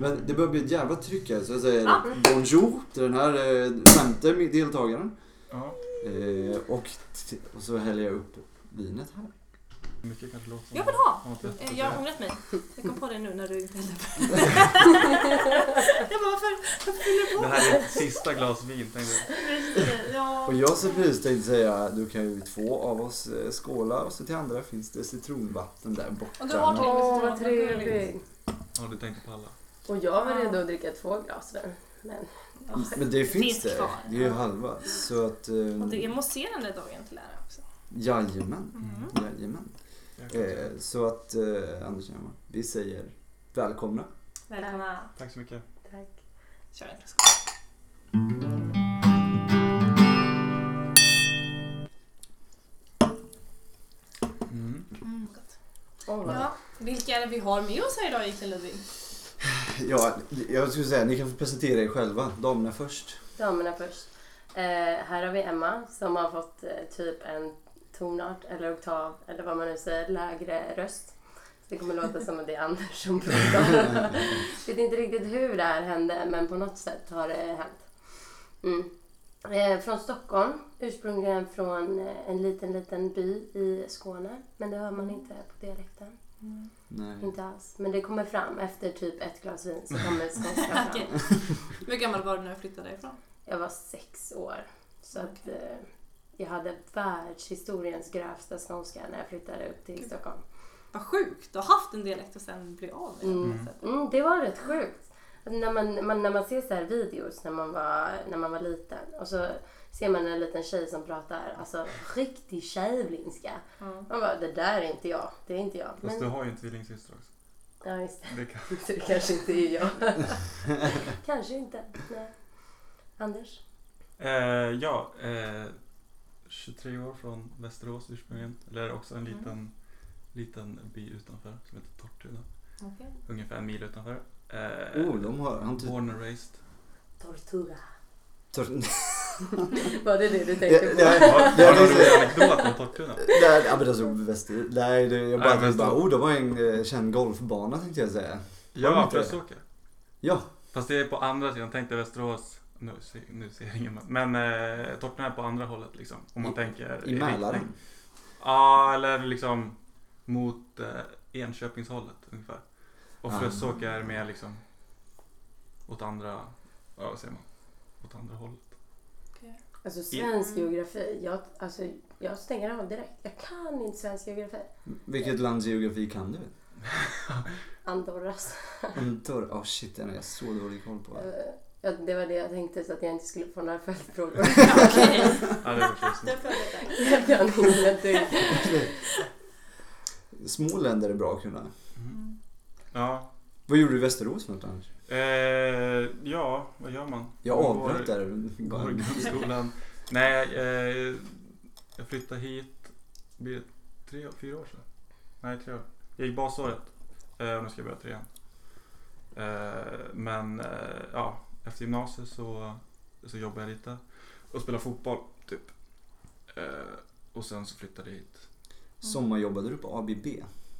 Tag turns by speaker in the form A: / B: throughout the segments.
A: Men det börjar bli ett jävla tryck här så jag säger
B: Ja.
A: bonjour till den här eh, femte deltagaren.
C: Ja,
A: Eh, och, t- och så häller jag upp vinet här.
C: mycket kanske låter som...
B: Jag vill ha!
C: Ja, det-
B: Eh, Jag har ångrat mig. Jag kom på det nu när du hällde på. Jag bara, varför?
C: Det här är ett sista glas vin tänkte jag.
B: Ja.
A: Och jag som pris tänkte säga, då kan ju två av oss eh, skåla och så till andra finns det citronvatten där borta.
B: Och du har två-
D: Åh, vad trevligt.
C: Ja, du tänkte på alla.
D: Och jag var redo att dricka två glas där. Men
A: Men det finns
B: Det är
A: det.
B: kvar.
A: Det är ju halva. Så att... Eh,
B: Och det är mousserande dagen till ära också.
A: jajamän.
B: Mm.
A: Jajamän. Eh, så att eh, Anders och Emma, vi säger välkomna.
B: Välkomna.
C: Tack så mycket.
D: tack.
B: Kör en flaska.
C: Mm.
B: Mm, gott.
D: Åh, vad-
B: Ja, vilka är det vi har med oss här idag egentligen Ludvig?
A: Ja, jag skulle säga, ni kan få presentera er själva. Damerna först.
D: Damerna först. Eh, här har vi Emma som har fått eh, typ en tonart eller oktav eller vad man nu säger, lägre röst. Så det kommer låta som att det är Anders som pratar. Vet inte riktigt hur det här hände men på något sätt har det hänt. Mm. Eh, från Stockholm, ursprungligen från eh, en liten, liten by i Skåne. Men det hör man inte på dialekten.
A: Nej.
D: Inte alls. Men det kommer fram efter typ ett glas vin så kommer skånska fram.
B: Okej. Hur gammal var du när du flyttade ifrån?
D: Jag var sex år. Så att
B: Okej.
D: eh, jag hade världshistoriens grövsta skånska när jag flyttade upp till Stockholm.
B: Vad sjukt! Du har haft en dialekt och sen blir av med den.
D: Mm. Mm, det var rätt sjukt. Att När man, man, när man ser så här videos när man, var, när man var liten och så ser man en liten tjej som pratar alltså riktig tjejvlingska.
B: Ja.
D: Man bara, det där är inte jag. Det är inte jag.
C: Fast
D: Men,
C: du har ju en tvillingsyster också.
D: ja, just det.
C: Det kan...
D: Så det kanske inte är jag. kanske inte. Nej. Anders?
C: eh, ja, eh, 23 år från Västerås ursprungligen. Eller också en
B: Mm.
C: liten, liten by utanför som heter Tortuna.
B: Okej.
C: Ungefär en mil utanför. Eh,
A: Oh, de har... Han typ...
C: Born and raised.
D: Tortura.
A: Tor-
D: Var det det du
A: Ja,
D: tänkte på?
A: nej,
C: Har
A: jag
C: har du en
A: tänkte säga-
C: rolig anekdot om Tortuna?
A: nej, ja, men alltså, väster, nej, det, jag bara,
C: Nej, men-
A: bara oh, de har en eh, känd golfbana tänkte jag säga. Har de
C: Ja,
A: inte det?
C: Frösåker.
A: Ja,
C: Fast det är på andra sidan. Tänk dig Västerås. Nu ser, nu ser jag ingen. Men eh, Tortuna är på andra hållet liksom. Om man
A: I-
C: tänker
A: i
C: riktning.
A: Mälaren.
C: Ja, eller liksom mot eh, Enköpingshållet ungefär. Och
A: Ah.
C: Frösåker är mer liksom åt andra, ja vad säger man? Åt andra hållet.
B: Okej.
D: Alltså svensk
B: Mm.
D: geografi, jag, alltså, jag stänger av direkt. Jag kan inte svensk geografi.
A: Vilket lands geografi kan du?
D: Andorras.
A: Antor? Oh shit, den har jag så dålig koll på.
D: Eh, ja, det var det jag tänkte så att jag inte skulle få några följdfrågor.
B: Okej.
C: Ja, det är förstås.
B: Det Mm. får jag veta.
D: jag kan inte ett dugg.
A: Små länder är bra att kunna.
B: Mm.
C: Ja.
A: Vad gjorde du i Västerås för något annars?
C: Eh, ja, vad gör man?
A: Jag
C: Man går-
A: avbröt där.
C: Går i grundskolan. Nej, eh, jag flyttade hit, blir det tre, fyra år sedan? Nej, tre år. Jag gick basåret eh, och nu ska jag börja trean. Eh, men eh, ja, efter gymnasiet så, så jobbade jag lite och spelade fotboll typ. Eh, och sen så flyttade jag hit.
A: Sommarjobbade du på ABB?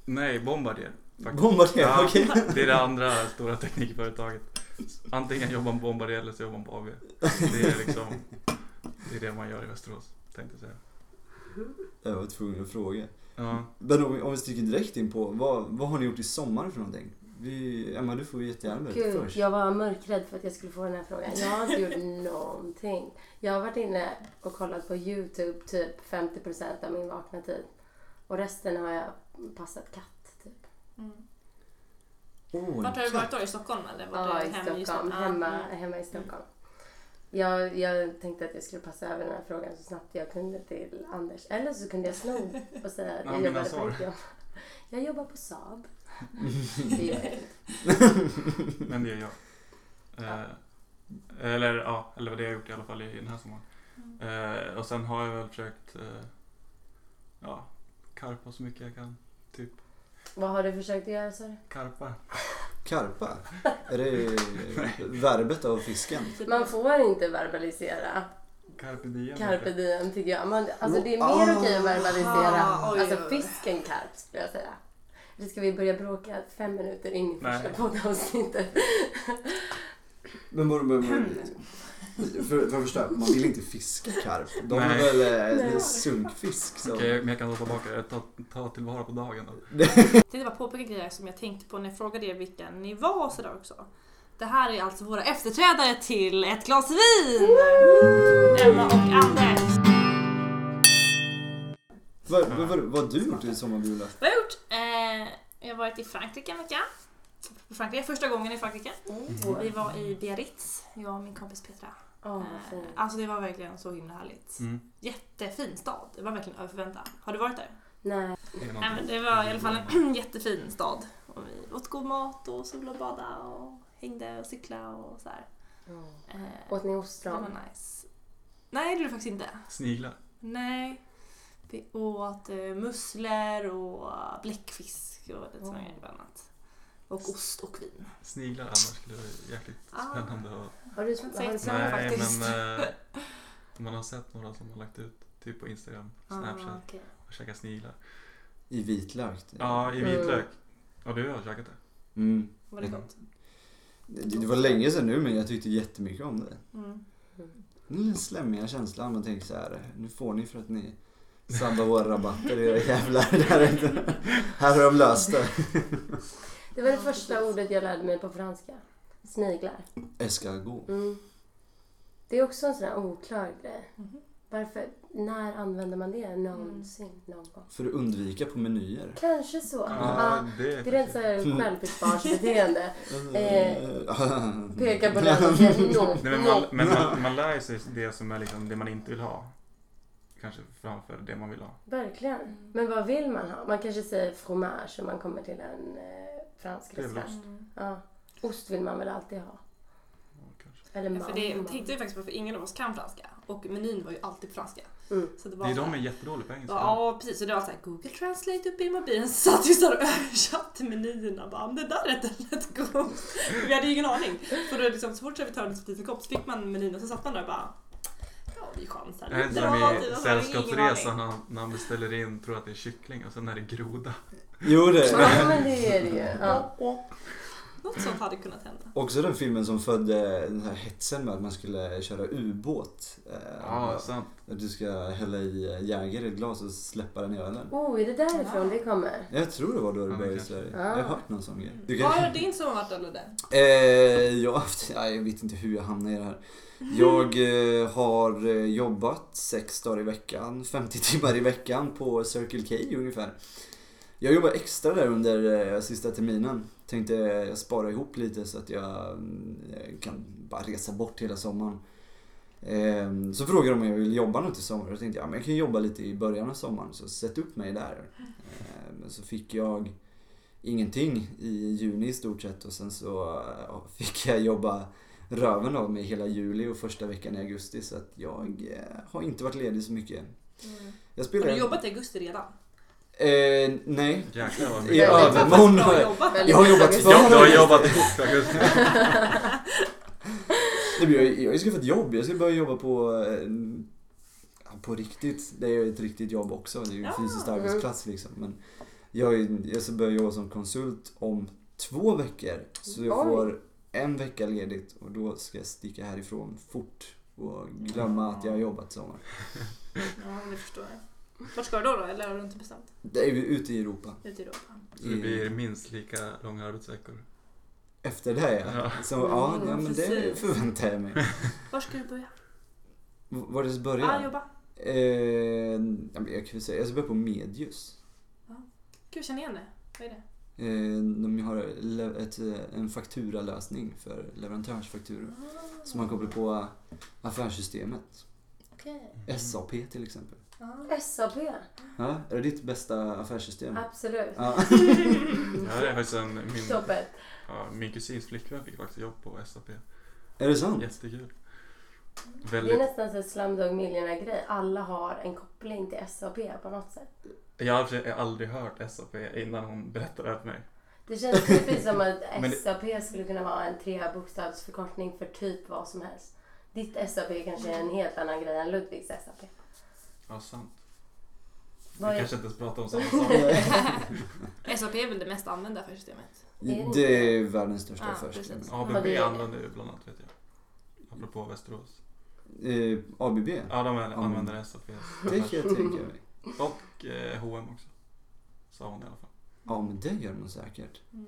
C: Nej, Bombardier. faktiskt.
A: Bombade det?
C: Ja.
A: Okej.
C: Det är det andra stora teknikföretaget. Antingen jobbar man på Bombardier eller så jobbar man på AB. Det är liksom det, är det man gör i Västerås, tänkte jag säga.
A: Jag var tvungen att fråga.
C: Ja.
A: Men om, vi- om vi sticker direkt in på, vad, vad har ni gjort i sommar för någonting? Vi, Emma, du får ju jättegärna berätta
D: Gud,
A: först.
D: jag var mörkrädd för att jag skulle få den här frågan. Jag har inte gjort någonting. Jag har varit inne och kollat på YouTube typ 50% av min vakna tid. Och resten har jag passat katt. Typ.
B: Mm.
A: Åh, en
B: Vart har du
A: katt.
B: varit då? I Stockholm eller? Var
D: Ja,
B: du
D: i
B: hemma
D: Stockholm.
B: Ah,
D: Hemma,
B: mm.
D: hemma i Stockholm. Jag, jag tänkte att jag skulle passa över den här frågan så snabbt jag kunde till Anders. Eller så kunde jag sno och säga att
C: Ja,
D: jag
C: mina
D: jobbar på
C: sår.
D: ett jobb. Jag jobbar på Saab. Det gör jag inte.
C: Men det är jag. Eh, eller ja, eller vad det har jag gjort i alla fall i den här sommaren.
B: Mm.
C: Eh, och sen har jag väl försökt eh, ja, karpa så mycket jag kan. Typ
D: Vad har du försökt att göra sa du?
C: karpa.
A: Karpa? Är det verbet av fisken?
D: Man
B: Typ,
D: får inte verbalisera
C: Carpe diem. heter
D: carpe
C: det.
D: diem tycker jag. Man, alltså det är
A: Ah.
D: mer okej att verbalisera
B: Ah, oj,
D: alltså
B: oj, oj.
D: fisken karp skulle jag säga. Nu ska vi börja bråka fem minuter in i första
C: Nej.
D: poddavsnittet.
A: Men mormor, för, för det första, man vill inte fiska karp. De är
C: Nej.
A: väl eh, det är
B: Nej.
A: sunkfisk. Så.
C: Okej, men jag kan ta tillbaka det. Ta, ta tillvara på dagen då.
B: Jag tänkte bara påpeka grejer som jag tänkte på när jag frågade er vilka ni var och sådär också. Det här är alltså våra efterträdare till ett glas vin!
D: Mm.
B: Emma och Anders.
A: Vad, vad, vad, vad har du gjort i sommarbruna?
B: Vad har jag gjort? Eh, jag har varit i Frankrike en vecka. I Frankrike, första gången i Frankrike.
D: Åh,
B: Vi var i Biarritz, jag och min kompis Petra.
D: vad
B: Eh,
D: fint.
B: alltså det var verkligen så himla härligt.
C: Mm.
B: Jättefin stad, det var verkligen över förväntan. Har du varit där?
D: Nej.
C: Det är
B: Nej, men
C: någonting.
B: det var i alla fall en jättefin stad. Och vi åt god mat och sol och bada och hängde och cyklade och sådär. Eh,
D: Åt ni
B: det
D: ostron?
B: var nice. Nej, det gjorde vi faktiskt inte.
C: Sniglar.
B: Nej. Vi åt eh, musslor och bläckfisk och lite sådana
D: Mm.
B: grejer bland annat. Och ost och vin.
C: Sniglar annars skulle vara jäkligt
B: Ah.
C: spännande att
D: Har du
B: Sen-
D: har du
B: sen-
D: smakat?
C: Nej,
B: faktiskt.
C: men eh, man har sett några som har lagt ut typ på Instagram, Snapchat
B: Ah, okej.
C: och käkat sniglar.
A: I vitlök? typ?
C: Ja, i
D: Mm.
C: vitlök. Ja, du har käkat det?
A: Mm.
B: Var det gott?
A: Det, det var länge sedan nu men jag tyckte jättemycket om det.
B: Mm.
A: Den lilla slemmiga känslan. Man tänker så här, nu får ni för att ni sabbar våra rabatter era jävlar. Det här, är inte, här har de löst det.
D: Det var det första ordet jag lärde mig på franska. Sniglar.
A: Escargot.
D: Mm. Det är också en sån här oklar grej.
B: Mhm.
D: Varför, när använder man det
B: Mm.
D: någonsin? Någon gång?
A: För att undvika på menyer.
D: Kanske så.
B: Ah.
C: Ja,
D: Ja.
C: det är
D: Det är ett så här självförsvarsbeteende. Eh, Peka på den och säga no,
C: Nej, men
D: no.
C: man, men man, man lär sig det som är liksom det man inte vill ha. Kanske framför det man vill ha.
D: Verkligen. Men vad vill man ha? Man kanske säger fromage om man kommer till en eh, fransk
C: Det är väl
D: restaurang. Ja. Ost vill man väl alltid ha?
C: Ja, kanske.
D: Eller
B: Ja,
D: man.
B: för det
D: man.
B: tänkte vi faktiskt på, för ingen av oss kan franska. Och menyn var ju alltid franska.
D: Mm.
B: Så det var
C: Det är
B: så
C: de
B: här-
C: är jättedåliga på engelska.
B: Ja precis, och det var såhär Google Translate uppe i mobilen så satt vi så här och översatte menyerna. Bara, "Men det där rätten lät god. Vi hade ju ingen aning. Så, då liksom, så fort servitören spritade kopp så fick man menyn och så satt man där och bara Ja vi chansar
C: Det är
B: lite
C: som
B: då, typ.
C: i
B: Och så hade vi ingen
C: Sällskapsresan
B: aning.
C: när han- när han beställer in, tror att det är kyckling och sen är det groda.
A: Jo det
D: Ja, men det är det ju. Ja.
B: Något sånt hade kunnat hända.
A: Också den filmen som födde den här hetsen med att man skulle köra ubåt. Eh,
C: Ja, sant.
A: att du ska hälla i Jäger i ett glas och släppa den i ölen.
D: Oh, är det därifrån det kommer?
A: Jag tror det var då det
C: Ja,
A: började i
C: kanske.
A: Sverige. Jag
D: Ah.
A: har hört någon sån grej.
B: Mm.
A: Du
B: Vad
A: kan...
B: har din sommar varit då Ludde?
A: eh, jag, har haft- ja, jag vet inte hur jag hamnade i det här. Jag eh, har eh, jobbat sex dagar i veckan, 50 timmar i veckan på Circle K ungefär. Jag jobbar extra där under eh, sista terminen. Tänkte eh, jag spara ihop lite så att jag mm, jag kan bara resa bort hela sommaren. Ehm, Så frågade de om jag ville jobba något i sommar. Jag tänkte jag, men jag kan jobba lite i början av sommaren så sätt upp mig där. Ehm, Men så fick jag ingenting i juni i stort sett och sen så ja, fick jag jobba röven av mig hela juli och första veckan i augusti så att jag eh, har inte varit ledig så mycket. Jag
B: Har
A: spelar...
B: du jobbat i augusti redan?
A: Eh, nej.
C: Jäklar vad
A: I
C: mycket.
D: Ja, men
A: övermorgon har
B: Bra
A: jag...
B: jobbat!
A: Jag har jobbat för
C: Ja, du har jobbat ihop augusti.
A: Nej, men jag, jag ska få ett jobb. Jag ska börja jobba på... eh, ja, På riktigt. Det är ju ett riktigt jobb också. Det är ju en
B: Ja.
A: fysisk arbetsplats liksom. Men jag, är- jag ska börja jobba som konsult om två veckor. Så jag
D: Oj.
A: får en vecka ledigt och då ska jag sticka härifrån fort och glömma att jag har jobbat sommar.
B: Ja det förstår jag. Vart ska du då, då? Eller har du inte bestämt?
A: Det är vi ute i Europa.
B: Ute i Europa?
A: Mm.
C: Så det blir minst lika långa arbetsveckor.
A: Efter det ja.
C: Ja.
A: Så, ja,
D: Mm,
A: ja men det
B: precis.
A: förväntar jag mig.
B: Var ska du börja?
A: V- Var det så börja?
B: Ah, jobba.
A: Eh, ja, men jag kan väl säga, jag ska börja på Medius.
B: Gud, känner igen det. Vad är det?
A: Eh, de har le- ett, eh, en fakturalösning för leverantörsfakturor som man kopplar på affärssystemet.
D: Okej.
C: Mm.
A: SAP till exempel.
B: Ah.
D: SAP.
A: Ja, är det ditt bästa affärssystem? Mm.
D: Absolut.
A: Ja.
C: Jag hade faktiskt en, min,
D: Toppet.
C: ja, min kusins flickvän fick faktiskt jobb på SAP.
A: Är det sant?
C: Jättekul.
D: Det är
C: Väldigt,
D: nästan så här Slumdog Millionaire-grej. Alla har en koppling till SAP på något sätt.
C: jag har i och för sig aldrig hört SAP innan hon berättade det här för mig.
D: Det känns precis som att
C: Men det-
D: SAP skulle kunna vara en trebokstavsförkortning för typ vad som helst. Ditt SAP kanske är en helt annan grej än Ludvigs SAP.
C: Ja, sant.
D: Vad
C: Vi
D: är-
C: kanske inte ens pratar om samma sak.
B: SAP är väl det mest använda affärssystemet?
A: Det är världens största
B: Ja,
A: affärsdel.
B: precis.
D: Vad
C: ABB
D: är-
C: använder ju bland annat vet jag. Apropå Västerås.
A: Eh, ABB?
C: Ja, de an-
A: Mm.
C: använder SAPs.
A: Det kan jag tänka mig.
C: Och eh, H&M också. Sa hon i alla fall.
A: Ja men det gör man säkert.
B: Mm.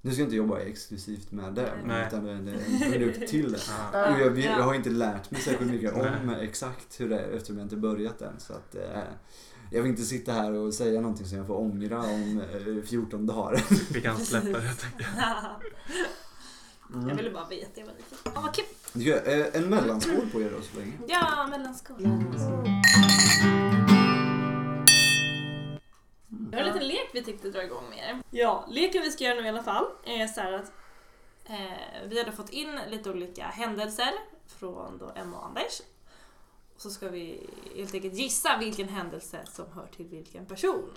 A: Nu ska jag inte jobba exklusivt med det.
C: Nej.
A: Utan det är en produkt till det.
C: Ja.
A: Och jag, vet-
B: Ja.
A: jag har inte lärt mig särskilt mycket om
C: Nej.
A: exakt hur det är eftersom jag inte börjat än. Så att, eh, jag vill inte sitta här och säga någonting som jag får ångra om eh, 14 dagar.
C: Vi kan släppa det tänker jag.
A: Mm.
B: Jag ville bara veta, jag var nyfiken. Åh, vad kul!
A: Du gör, eh, En mellanskål på er då så länge.
B: Ja, mellanskolan.
D: Mm.
B: Vi har en liten lek vi tänkte dra igång med er. Ja, leken vi ska göra nu i alla fall är så här att eh, vi hade fått in lite olika händelser från då Emma och Anders. Och så ska vi helt enkelt gissa vilken händelse som hör till vilken person.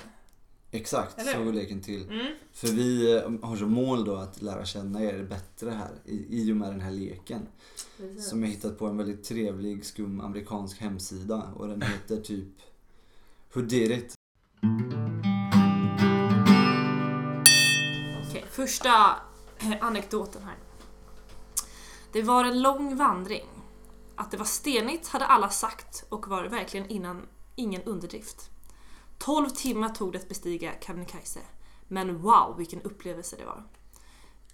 A: Exakt,
B: Eller
A: så
B: hur?
A: går leken till.
B: Mm.
A: För vi eh, har som mål då att lära känna er bättre här i, i och med den här leken.
D: Precis.
A: Som jag hittat på en väldigt trevlig skum amerikansk hemsida och den heter typ Who did it?
B: Okej, första eh, anekdoten här. Det var en lång vandring. Att det var stenigt hade alla sagt och var verkligen innan, ingen underdrift. 12 timmar tog det att bestiga Kebnekaise, men wow vilken upplevelse det var.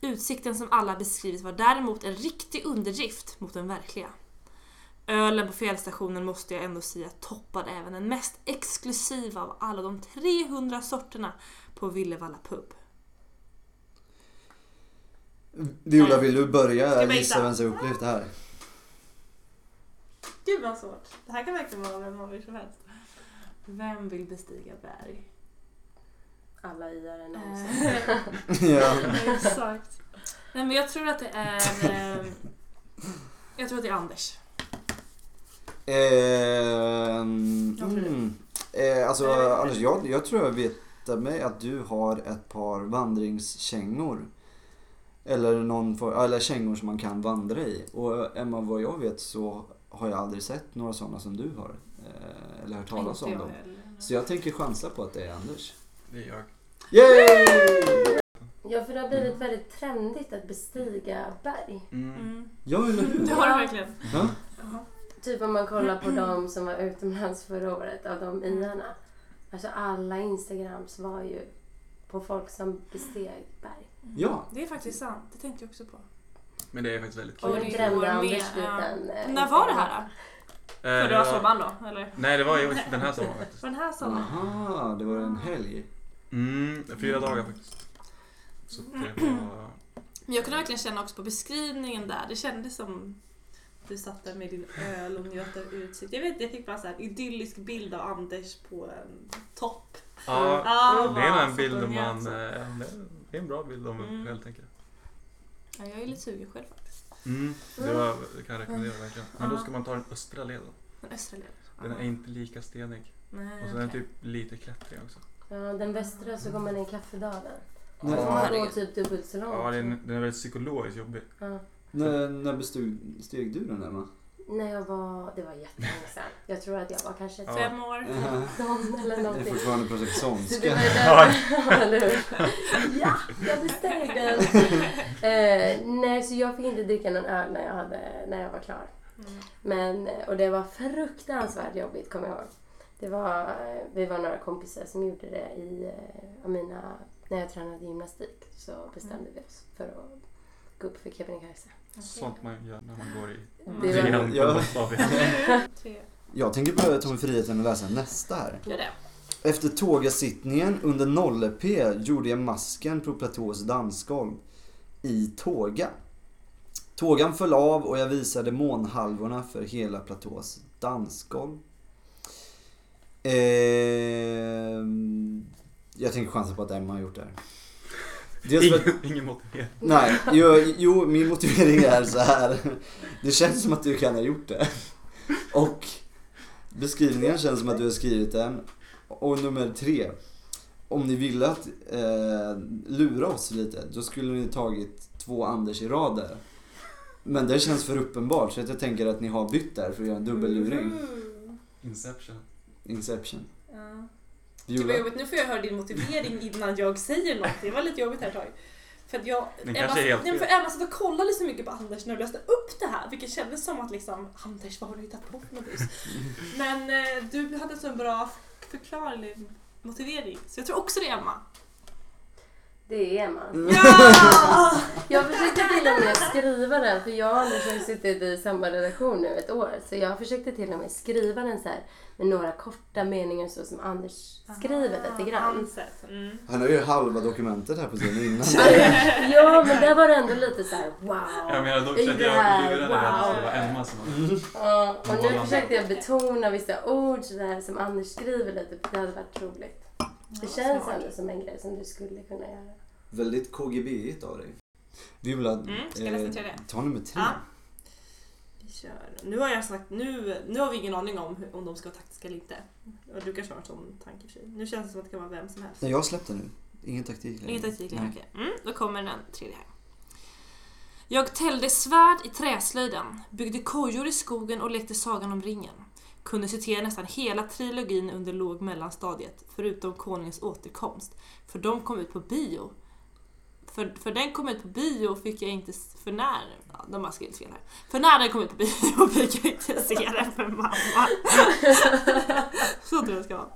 B: Utsikten som alla beskrivit var däremot en riktig underdrift mot den verkliga. Ölen på fjällstationen måste jag ändå säga toppade även den mest exklusiva av alla de 300 sorterna på Villevalla pub.
A: Viola,
B: Nej.
A: vill du
B: Mm. Ska
A: börja
B: jag
A: gissa
B: gissa?
A: vem som upplevt det här?
B: Gud vad svårt. Det här kan verkligen vara vem man vill som helst. Vem vill bestiga berg?
D: Alla iare någonsin.
B: Eh,
A: ja.
B: Exakt. Nej men jag tror att det är... eh, Jag tror att det är Anders.
A: Ehm,
B: Jag tror det.
A: Eh, mm. Eh, alltså
B: Nej, jag vet inte.
A: Anders, jag, jag tror jag vet av mig att du har ett par vandringskängor. Eller, någon for, eller kängor som man kan vandra i. Och eh, Emma, vad jag vet så har jag aldrig sett några sådana som du har. Eh, eller hört talas om
B: Inte jag
A: dem.
B: heller.
A: Så jag tänker chansa på att det är Anders.
C: Det är jag.
A: Yay!
D: Ja, för det har blivit väldigt trendigt att bestiga berg.
C: Mm.
B: Mm.
A: Ja, eller hur?
B: Det har du verkligen.
A: Ja.
D: Typ om man kollar på de som var utomlands förra året, av de iarna. Alltså alla Instagrams var ju på folk som besteg berg.
A: Ja.
B: Det är faktiskt sant. Det tänkte jag också på.
C: Men det är faktiskt väldigt kul.
D: Och
B: Och
D: nu
B: det går
D: brände Anders
B: med, ja.
D: liten... eh,
B: När var det här då?
C: Eh,
B: Förra sommaren då? Eller?
C: Nej, det var ju den här sommaren faktiskt.
B: Var den här sommaren?
A: Aha, det var en helg.
C: Mm, fyra dagar faktiskt. Så det var...
B: Men jag kunde verkligen känna också på beskrivningen där, det kändes som du satt där med din öl och njöt av utsikt. Jag vet inte, jag fick bara så här idyllisk bild av Anders på en topp.
C: Ja,
B: Ah,
C: det är nog
B: vad
C: en bild om
B: satt och
C: man...
B: njöt så.
C: eh, Det är en bra bild om
B: Mm.
C: man själv tänker jag.
B: Ja, jag är lite sugen själv faktiskt.
C: Mm, det var, det kan jag rekommendera verkligen. Men då ska man ta den östra leden.
B: Den östra
C: Den
B: leden.
C: är inte lika stenig.
B: Nej,
C: Och så är den
B: Mm, okej.
C: typ lite klättrig också.
D: Ja, den västra så går man in i kaffedalen. Så
A: Nej.
D: får
A: Åh,
D: man gå
B: herregud.
D: typ dubbelt så långt.
C: Ja, den, den är väldigt psykologiskt jobbig.
D: Ja.
A: När, när besteg steg du den Emma?
D: När jag var... Det var jättelänge sedan. Jag tror att jag var kanske
C: Ja. Mm.
B: Fem år.
D: femton eller
A: Jag är
D: någonting.
A: fortfarande på
D: Så det
A: saxonska.
D: var ju där, eller hur? Ja, jag besteg den. Eh, nej, så jag fick inte dricka någon öl när jag, hade, när jag var klar.
B: Mm.
D: Men, eh, och det var fruktansvärt jobbigt, kommer jag ihåg. Det var, eh, vi var några kompisar som gjorde det i eh, mina, när jag tränade gymnastik. Så bestämde vi oss för att gå upp för Kebnekaise.
C: Sånt man gör när man går i
D: Det
B: Mm.
D: var-
C: trean på
A: Ja.
C: Bokstavligen.
B: Tre.
A: Jag tänker bara ta mig friheten att läsa nästa här.
B: Gör det.
A: Efter tågasittningen under 0P gjorde jag masken på platås dansgolv i tåga. Tågan föll av och jag visade månhalvorna för hela platås dansgolv. Ehm, jag tänker chansa på att Emma har gjort det här. Dels för att-
C: Ingen, ingen motivering.
A: Nej, jo, jo min motivering är så här. Det känns som att du kan ha gjort det. Och beskrivningen känns som att du har skrivit den. Och nummer tre. Om ni ville att eh, lura oss lite, då skulle ni tagit två Anders i rad där. Men det känns för uppenbart, så att jag tänker att ni har bytt där för att göra en dubbelluring.
B: Mm.
C: Inception.
A: Inception.
B: Ja. Gud vad
A: Viola.
B: jobbigt, nu får jag höra din motivering innan jag säger något. Det var lite jobbigt här ett tag. För att jag...
C: Den
B: Emma,
C: kanske är helt
B: nej, men för
C: fel.
B: Emma satt och kollade så mycket på Anders när du läste upp det här. Vilket kändes som att liksom, Anders vad har du hittat på för något bus? Men eh, du hade så en bra förklarlig motivering. Så jag tror också det är Emma.
D: Det är Emma.
B: Ja!
D: Jag försökte till och med skriva den, för jag har nu suttit i samma redaktion nu ett år. Så jag försökte till och med skriva den så här med några korta meningar så som Anders
B: Ah,
D: skriver lite grann.
B: Anset. Mm.
A: Han har ju halva dokumentet här på sidan innan.
D: Ja, men där var det ändå lite så här wow.
C: Jag menar dock
D: Det
C: kände
D: här,
C: jag lurade henne
D: wow.
C: så det var Emma som var
D: Ja, och nu
C: Målande.
D: försökte jag betona vissa ord så här som Anders skriver lite. för Det hade varit roligt. Det känns
B: smart.
D: ändå som en grej som du skulle kunna göra.
A: Väldigt KGB-igt av dig. Viola, eh,
B: Mm, ska jag läsa tredje?
A: ta nummer tre.
B: Ja. Vi kör. Nu har jag sagt, nu, nu har vi ingen aning om hur, om de ska vara taktiska eller inte. Och du kanske har en sån tanke i och för sig. Nu känns det som att det kan vara vem som helst.
A: Nej, jag släppte nu. Ingen taktik längre.
B: Inget taktik
A: Nej.
B: längre, okej. Mm, då kommer den tredje här. Jag täljde svärd i träslöjden, byggde kojor i skogen och lekte Sagan om ringen. Kunde citera nästan hela trilogin under låg mellanstadiet, förutom Konungens återkomst. För de kom ut på bio. För, för den kom ut på bio fick jag inte... s- För när... Ja, de har skrivit fel här. För när den kom ut på bio fick jag inte se den för mamma. Så tror jag det ska vara.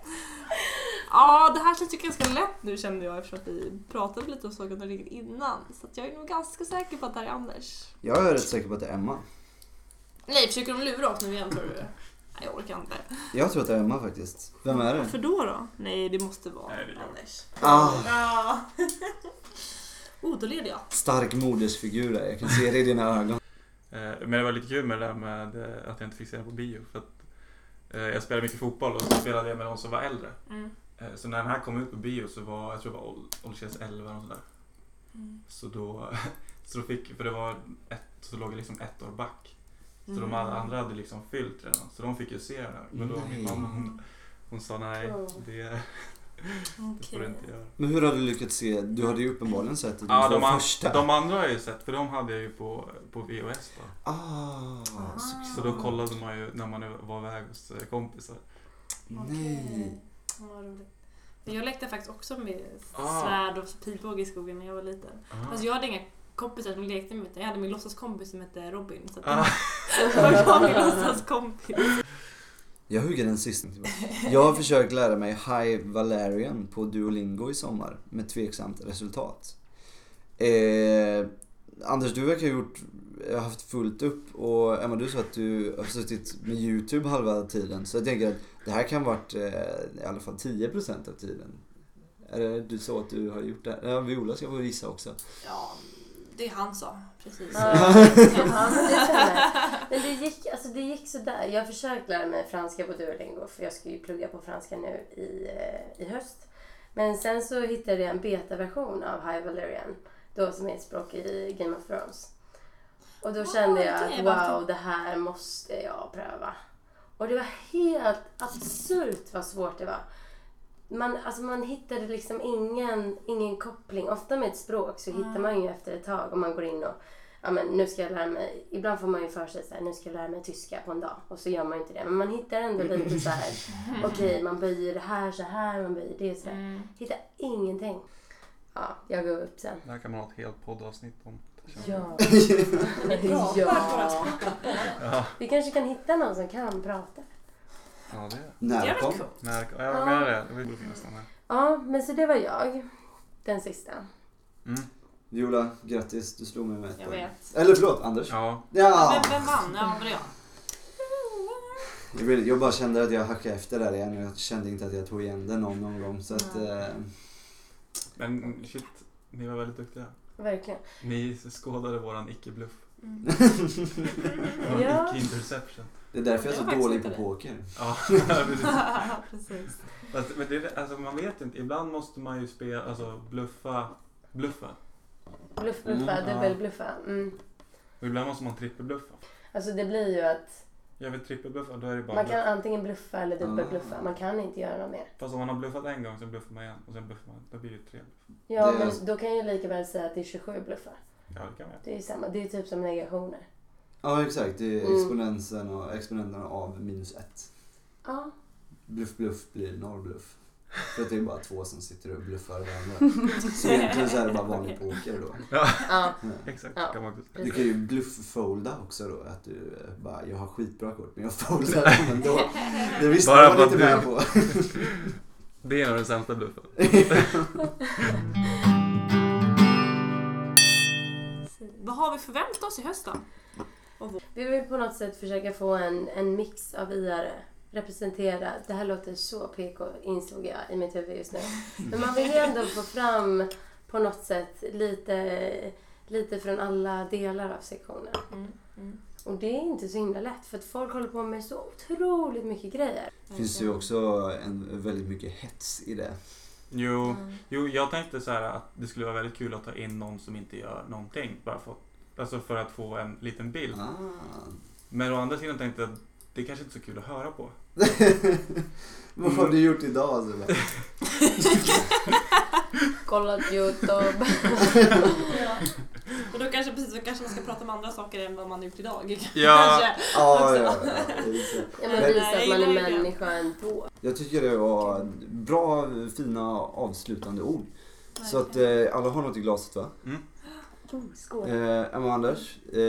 B: Ja, det här känns ju ganska lätt nu kände jag eftersom att vi pratade lite om Sagan om ringen innan. Så att jag är nog ganska säker på att det här är Anders.
A: Jag är rätt säker på att det är Emma.
B: Nej, försöker de lura oss nu igen tror du? Nej, jag orkar inte.
A: Jag tror att det är Emma faktiskt. Vem är det?
B: Varför då då? Nej, det måste vara
C: Nej, det är jag.
B: Anders.
A: Ah,
B: Ja. oh, då leder jag.
A: stark modersfigur där. Jag kan se det i dina ögon.
C: Eh, Men det var lite kul med det där med eh, att jag inte fick se den på bio. För att eh, jag spelade mycket fotboll och så spelade jag med någon som var äldre.
B: Mm.
C: Eh, Så när den här kom ut på bio så var, jag tror det var ål- åldersgräns 11 eller något sådär.
B: Mm.
C: Så då, så då fick, för det var ett, så låg jag liksom ett år back. Så de
B: Mm.
C: alla andra hade liksom fyllt redan. Så de fick ju se den här. Men då
A: Nej.
C: min
B: Mm.
C: mamma hon, hon sa nej, det, det får du
B: Okej.
C: inte göra.
A: Men hur har du lyckats se? Du hade ju uppenbarligen sett de
C: Ja,
A: två
C: de, an,
A: första.
C: de andra har jag ju sett, för de hade jag ju på, på VHS då.
A: Ah,
B: Ah.
C: Så då kollade man ju när man nu var iväg hos eh, kompisar.
B: Ah,
A: Nej.
B: Ja, vad roligt. Men Jag lekte faktiskt också med
C: Ah.
B: svärd och pilbåge i skogen när jag var liten. Alltså jag hade inga kompisar som lekte med mig utan jag hade min låtsaskompis som hette Robin. Så att
C: Ah.
B: jag var min låtsaskompis.
A: Jag hugger den sist. Jag har försökt lära mig High Valerian på Duolingo i sommar med tveksamt resultat. Eh, Anders, du verkar ha gjort, haft fullt upp och Emma, du sa att du har suttit med YouTube halva tiden. Så jag tänker att det här kan ha varit eh, i alla fall 10% av tiden. Är det du sa att du har gjort det? här? Ja, Viola ska få gissa också.
B: Ja, det han sa. Precis.
D: Ja, ja, men det stämmer. Men det gick, alltså det gick sådär. Jag har försökt lära mig franska på Duolingo för jag ska ju plugga på franska nu i, eh, i höst. Men sen så hittade jag en betaversion av High Valerian, då som är ett språk i Game of Thrones. Och då
B: Ah,
D: kände jag
B: det
D: att
B: är bara-
D: wow, det här måste jag pröva. Och det var helt absurt vad svårt det var. Man, alltså man hittade liksom ingen, ingen koppling. Ofta med ett språk så hittar man ju efter ett tag om man går in och ja, men nu ska jag lära mig. Ibland får man ju för sig så här, nu ska jag lära mig tyska på en dag och så gör man ju inte det. Men man hittar ändå lite så här,
B: Mm.
D: okej man böjer det här så här, man böjer det så här. Hittar ingenting. Ja, jag går upp sen.
C: Det här kan man ha ett helt poddavsnitt om. känner jag.
D: Ja.
B: Ja.
D: ja. Vi kanske kan hitta någon som kan prata.
C: Ja, det är
B: Det är
A: Närkom.
B: väl coolt.
C: När, ja, jag menar det. Det borde finnas någon här.
D: Ja, men så det var jag. Den sista.
C: Mm.
A: Viola, grattis. Du slog mig med ett
B: Jag
A: poäng.
B: vet.
A: Eller förlåt, Anders.
C: Ja,
A: Ja!
B: Vem, vem vann? Ja, var det jag?
A: Jag, vill, jag bara kände att jag hackade efter där igen och jag kände inte att jag tog igen det någon, någon gång. Så att, eh,
C: men shit. Ni var väldigt duktiga.
D: Verkligen.
C: Ni skådade våran icke-bluff.
B: Mm.
C: Våran
D: Ja.
C: icke-interception.
A: det är därför jag
B: Det
A: är
B: var
A: så
B: faktiskt
A: dålig
B: inte
A: på
B: det.
A: poker.
C: Ja, precis.
B: Precis.
C: Fast, men det, är- alltså, man vet inte. Ibland måste man ju spela, alltså bluffa, bluffa.
D: Bluff, bluffa,
A: Mm,
C: ja.
D: dubbelbluffa. Mm.
C: Och ibland måste man trippelbluffa.
D: Alltså det blir ju att
C: Gör vi trippelbluffa då är det bara
D: man kan
C: bluff.
D: antingen bluffa eller dubbelbluffa. Man kan inte göra något mer.
C: Fast om man har bluffat en gång så bluffar man igen och sen bluffar man. Då blir det ju tre bluff.
D: Ja,
A: Det-
D: men då kan jag lika väl säga att det är 27 bluffar.
C: Ja, det kan man göra.
D: Det är ju samma. Det är typ som negationer.
A: Ja exakt, det är
D: Mm.
A: exponensen och exponenterna av minus ett.
D: Ja,
A: Bluff bluff blir noll bluff. För att det är bara två som sitter och bluffar varandra. Så egentligen så är det bara vanlig poker då.
D: Ja,
A: Ja.
C: Exakt,
D: Ja.
C: kan man också säga.
A: Du kan ju bluff-folda också då. Att du eh, bara, jag har skitbra kort men jag foldar dem ändå. Det visste
C: Bara
A: jag
C: för
A: inte
C: att
A: med
C: du-
A: på.
C: Det är nog den sämsta bluffen.
B: Vad har vi förväntat oss i höst då?
D: vi vill på något sätt försöka få en, en mix av IR representera, det här låter så PK insåg jag i mitt huvud just nu. Men man vill ju ändå få fram på något sätt lite, lite från alla delar av sektionen.
B: Mm,
D: Och det är inte så himla lätt för att folk håller på med så otroligt mycket grejer.
A: Det finns ju också en, väldigt mycket hets i det.
D: Mm.
C: Jo,
B: Mm.
C: jo, jag tänkte så här att det skulle vara väldigt kul att ta in någon som inte gör någonting. Bara för, alltså för att få en liten bild.
A: Ah.
C: Men å andra sidan tänkte jag att det kanske inte är så kul att höra på.
A: Vad har du gjort idag? alltså? Så bara,
D: Kollat Youtube.
B: Men då kanske, precis, då kanske man ska prata om andra saker än vad man har gjort idag.
C: Ja.
B: Kanske.
A: ah, ja, ja, ja, just det.
D: Ja,
A: Men-
D: men visa att man
B: Nej,
D: är
B: nej, nej.
D: människa ändå.
A: Jag tycker det var bra, fina avslutande ord. Så att
B: Verkligen.
A: eh, alla har något i glaset va?
D: Skål.
A: Eh, Emma och Anders, eh,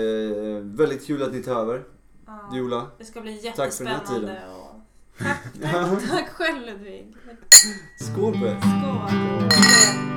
A: väldigt kul att ni tar över.
B: Ja.
A: eh, Jola,
B: Det ska bli
A: Tack för den här
B: jättespännande.
A: tiden.
B: och... tack, tack, tack själv Ludvig.
A: skål på er!
B: Skål.